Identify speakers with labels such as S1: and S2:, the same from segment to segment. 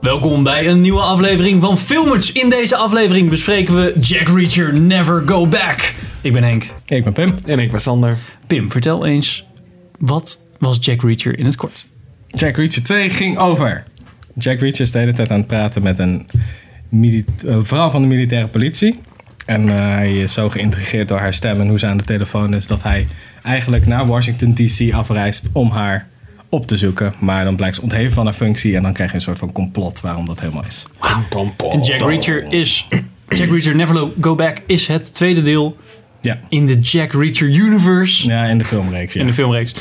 S1: Welkom bij een nieuwe aflevering van Filmers. In deze aflevering bespreken we Jack Reacher Never Go Back. Ik ben Henk.
S2: Ik ben Pim.
S3: En ik ben Sander.
S1: Pim, vertel eens, wat was Jack Reacher in het kort?
S2: Jack Reacher 2 ging over. Jack Reacher is de hele tijd aan het praten met een mili- eh, vrouw van de militaire politie. En eh, hij is zo geïntrigeerd door haar stem en hoe ze aan de telefoon is... dat hij eigenlijk naar Washington D.C. afreist om haar op te zoeken. Maar dan blijkt ze ontheven van haar functie... en dan krijg je een soort van complot waarom dat helemaal is.
S1: En
S2: Oh,
S1: Jack Reacher is... Jack Reacher Never Go Back is het tweede deel
S2: Ja,
S1: in de Jack Reacher universe.
S2: ja in de filmreeks. Ja.
S1: In de filmreeks.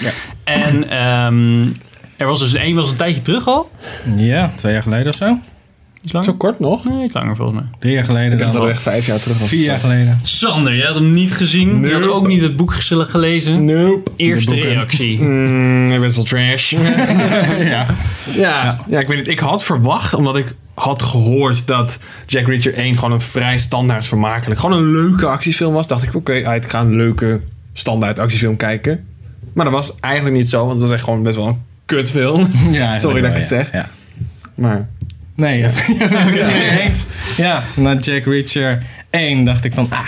S1: En ehm, er was dus één was een tijdje terug al.
S2: ja, twee jaar geleden of zo.
S1: Iets langer?
S3: Zo kort nog?
S1: Nee, iets langer volgens mij.
S2: Drie jaar geleden.
S3: Ik dacht
S2: dan
S3: dat
S2: wel.
S3: het echt vijf jaar terug was.
S2: Vier jaar geleden.
S1: Sander, je had hem niet gezien. Je had
S3: Nope.
S1: ook niet het boek gezellig gelezen.
S3: Nope.
S1: Eerste
S2: boeken.
S1: reactie.
S3: Mm, hij was wel trash. ja. Ja. ja, ik weet niet. Ik had verwacht, omdat ik had gehoord dat Jack Reacher 1 gewoon een vrij standaard vermakelijk, gewoon een leuke actiefilm was. Dacht ik, oké, uit, ik ga een leuke standaard actiefilm kijken. Maar dat was eigenlijk niet zo, want het was echt gewoon best wel een kutfilm.
S2: Ja,
S3: Sorry dat ik
S2: wel,
S3: het
S2: ja.
S3: zeg.
S2: Ja.
S3: Maar
S2: Nee, ja. Ja, na Jack Reacher 1 dacht ik van, ah,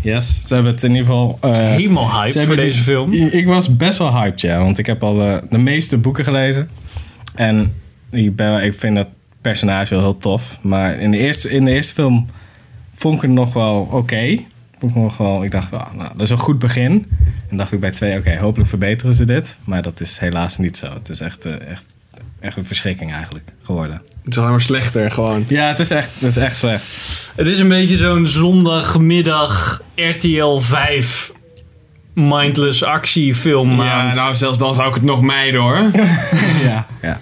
S2: yes. Ze hebben het in ieder geval... eh,
S1: Helemaal hyped
S2: hebben
S1: voor
S2: die-
S1: deze film.
S2: I- Ik was best wel hyped, ja. Want ik heb al eh, de meeste boeken gelezen. En ik, ben, ik vind dat personage wel heel tof. Maar in de eerste, in de eerste film vond ik het nog wel oké. Vond ik, nog wel, ik dacht, wel, nou, dat is een goed begin. En dacht ik bij twee, oké, hopelijk verbeteren ze dit. Maar dat is helaas niet zo. Het is echt, eh, echt, echt een verschrikking eigenlijk geworden.
S3: het is alleen maar slechter gewoon.
S2: Ja, het is echt, het is echt slecht.
S1: Het is een beetje zo'n zondagmiddag RTL 5 mindless actiefilm
S3: Ja,
S1: maand.
S3: nou, zelfs dan zou ik het nog mijden hoor.
S2: Ja. ja.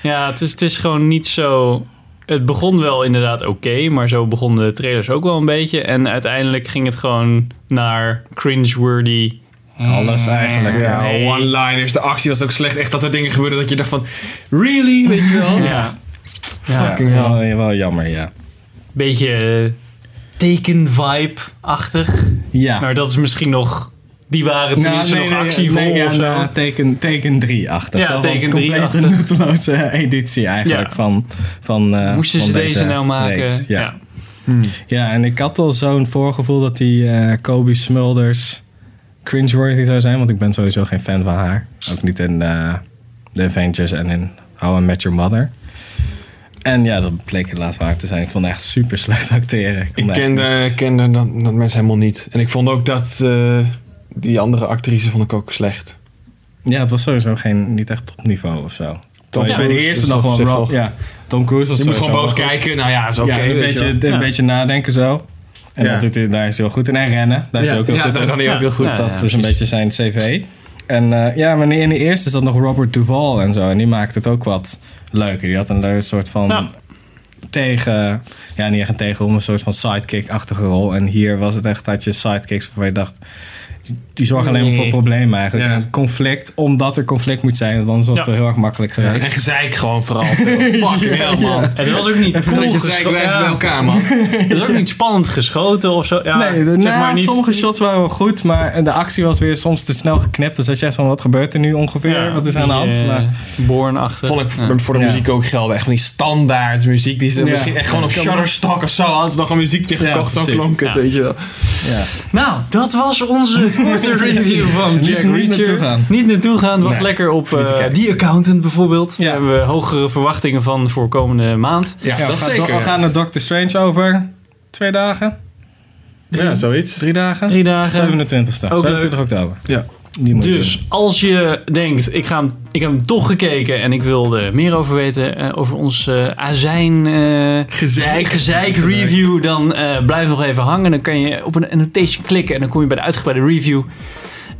S1: Ja, het is, het is gewoon niet zo... Het begon wel inderdaad oké, maar zo begonnen de trailers ook wel een beetje. En uiteindelijk ging het gewoon naar cringeworthy.
S2: Alles eigenlijk.
S3: Mm. Ja,
S2: Ja.
S1: Nee.
S3: one-liners. De actie was ook slecht. Echt dat er dingen gebeurden dat je dacht van... Really? Weet je wel?
S1: Ja,
S3: Fucking
S2: wel,
S3: hell.
S2: wel jammer, ja.
S1: beetje eh, teken-vibe-achtig.
S2: Ja.
S1: Maar dat is misschien nog... Die waren
S2: Nou,
S1: tenminste nog actievol
S2: nee, ja,
S1: of zo.
S2: nou, teken, teken 3 achter.
S1: Ja,
S2: Zo van
S1: teken
S2: een
S1: drie
S2: complete
S1: achter.
S2: nutteloze editie eigenlijk
S1: Ja.
S2: van, van eh,
S1: Moesten ze
S2: van
S1: deze, nou maken?
S2: reeks. Ja.
S1: ja.
S2: Ja. en ik had al zo'n voorgevoel dat die eh Kobe Smulders cringeworthy zou zijn. Want ik ben sowieso geen fan van haar. Ook niet in eh, The Avengers en in How I Met Your Mother. En ja, dat bleek helaas waar te zijn. Ik vond haar echt super slecht acteren. kon
S3: Ik
S2: echt
S3: kende,
S2: niet-
S3: kende dat, dat mensen helemaal niet. En ik vond ook dat... eh, die andere actrice vond ik ook slecht.
S2: Ja, het was sowieso geen, niet echt topniveau of zo. Tom
S3: Cruise
S2: bij de eerste
S3: is
S2: nog
S3: op
S2: wel
S3: zich
S2: Rob.
S3: nog-
S2: Ja, Tom Cruise was
S3: Je moet
S2: sowieso
S3: gewoon
S2: wel
S3: boos
S2: goed.
S3: kijken. Nou ja, is oké.
S2: Ja, een, beetje, een
S1: Ja.
S2: beetje nadenken zo. En
S3: Ja.
S2: dat doet hij, daar is hij wel goed in. En rennen, daar is hij ook heel
S3: ja,
S2: goed
S3: dat
S2: in.
S3: kan hij ook heel goed.
S1: Ja.
S2: dat is een beetje zijn cv. En eh, ja, maar in de eerste zat nog Robert Duval en zo. En die maakte het ook wat leuker. Die had een leuk soort van
S1: Ja.
S2: tegen... Ja, niet echt een tegen, maar een soort van sidekick-achtige rol. En hier was het echt dat je sidekicks waarvan je dacht... die- Die zorgen alleen maar
S1: Nee.
S2: voor problemen eigenlijk.
S3: Ja.
S2: En conflict, omdat er conflict moet zijn. Want anders was het
S1: Ja.
S2: wel heel erg makkelijk
S3: En
S2: geweest.
S3: gezeik gewoon vooral. Fucking hell, man.
S1: Het was ook niet
S3: Even
S1: cool
S3: dat je zeik
S1: gescho-
S3: blijft
S1: ja.
S3: bij elkaar, man.
S1: Het is ook niet spannend geschoten of zo. Ja,
S2: nee, de-
S1: zeg
S2: nou,
S1: maar niet.
S2: sommige shots waren wel goed, maar de actie was weer soms te snel geknipt. Dus dat je echt van, wat gebeurt er nu ongeveer?
S1: Ja,
S2: wat is aan de
S1: die,
S2: hand?
S1: eh,
S2: Maar,
S1: Born-achtig.
S3: Vond ik
S1: Ja.
S3: voor de
S2: Ja.
S3: muziek ook gelden. Echt van die standaard muziek. Die ze
S2: Ja.
S3: misschien echt gewoon op
S2: Ja.
S3: Shutterstock of zo. Hadden ze nog een muziekje
S2: Ja,
S3: gekocht. Zo'n
S2: precies.
S3: klonkend,
S1: Ja.
S3: weet je wel.
S2: ja.
S1: Nou, dat was onze korte review van Jack
S2: Niet- niet
S1: Reacher.
S2: naartoe gaan.
S1: Niet naartoe gaan. Wacht
S2: Nee,
S1: lekker op
S2: niet te
S1: eh,
S2: kijken.
S1: die accountant bijvoorbeeld.
S2: Ja.
S1: Daar hebben we hogere verwachtingen van voor komende maand.
S3: Ja,
S2: Ja,
S3: dat
S2: we gaan-
S3: zeker.
S2: We gaan naar Doctor Strange over twee dagen,
S3: Ja, zoiets.
S2: drie dagen.
S1: Drie dagen.
S2: 27
S1: Ook
S2: 27 oktober.
S3: Ja.
S2: Die moet je doen.
S1: Dus als je denkt, ik, ga hem, ik heb hem toch gekeken en ik wil er meer over weten, eh, over ons eh, azijn eh,
S3: Gezeik.
S1: gezeik review, dan eh, blijf nog even hangen. Dan kan je op een annotation klikken en dan kom je bij de uitgebreide review.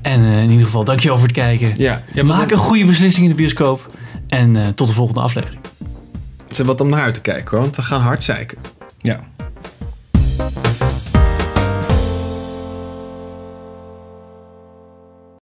S1: En eh, in ieder geval, dankjewel voor het kijken.
S3: Ja, ja
S1: Maak een goede beslissing in de bioscoop. En eh, tot de volgende aflevering.
S3: Het is wat om naar uit te kijken hoor, want we gaan hard zeiken.
S2: Ja.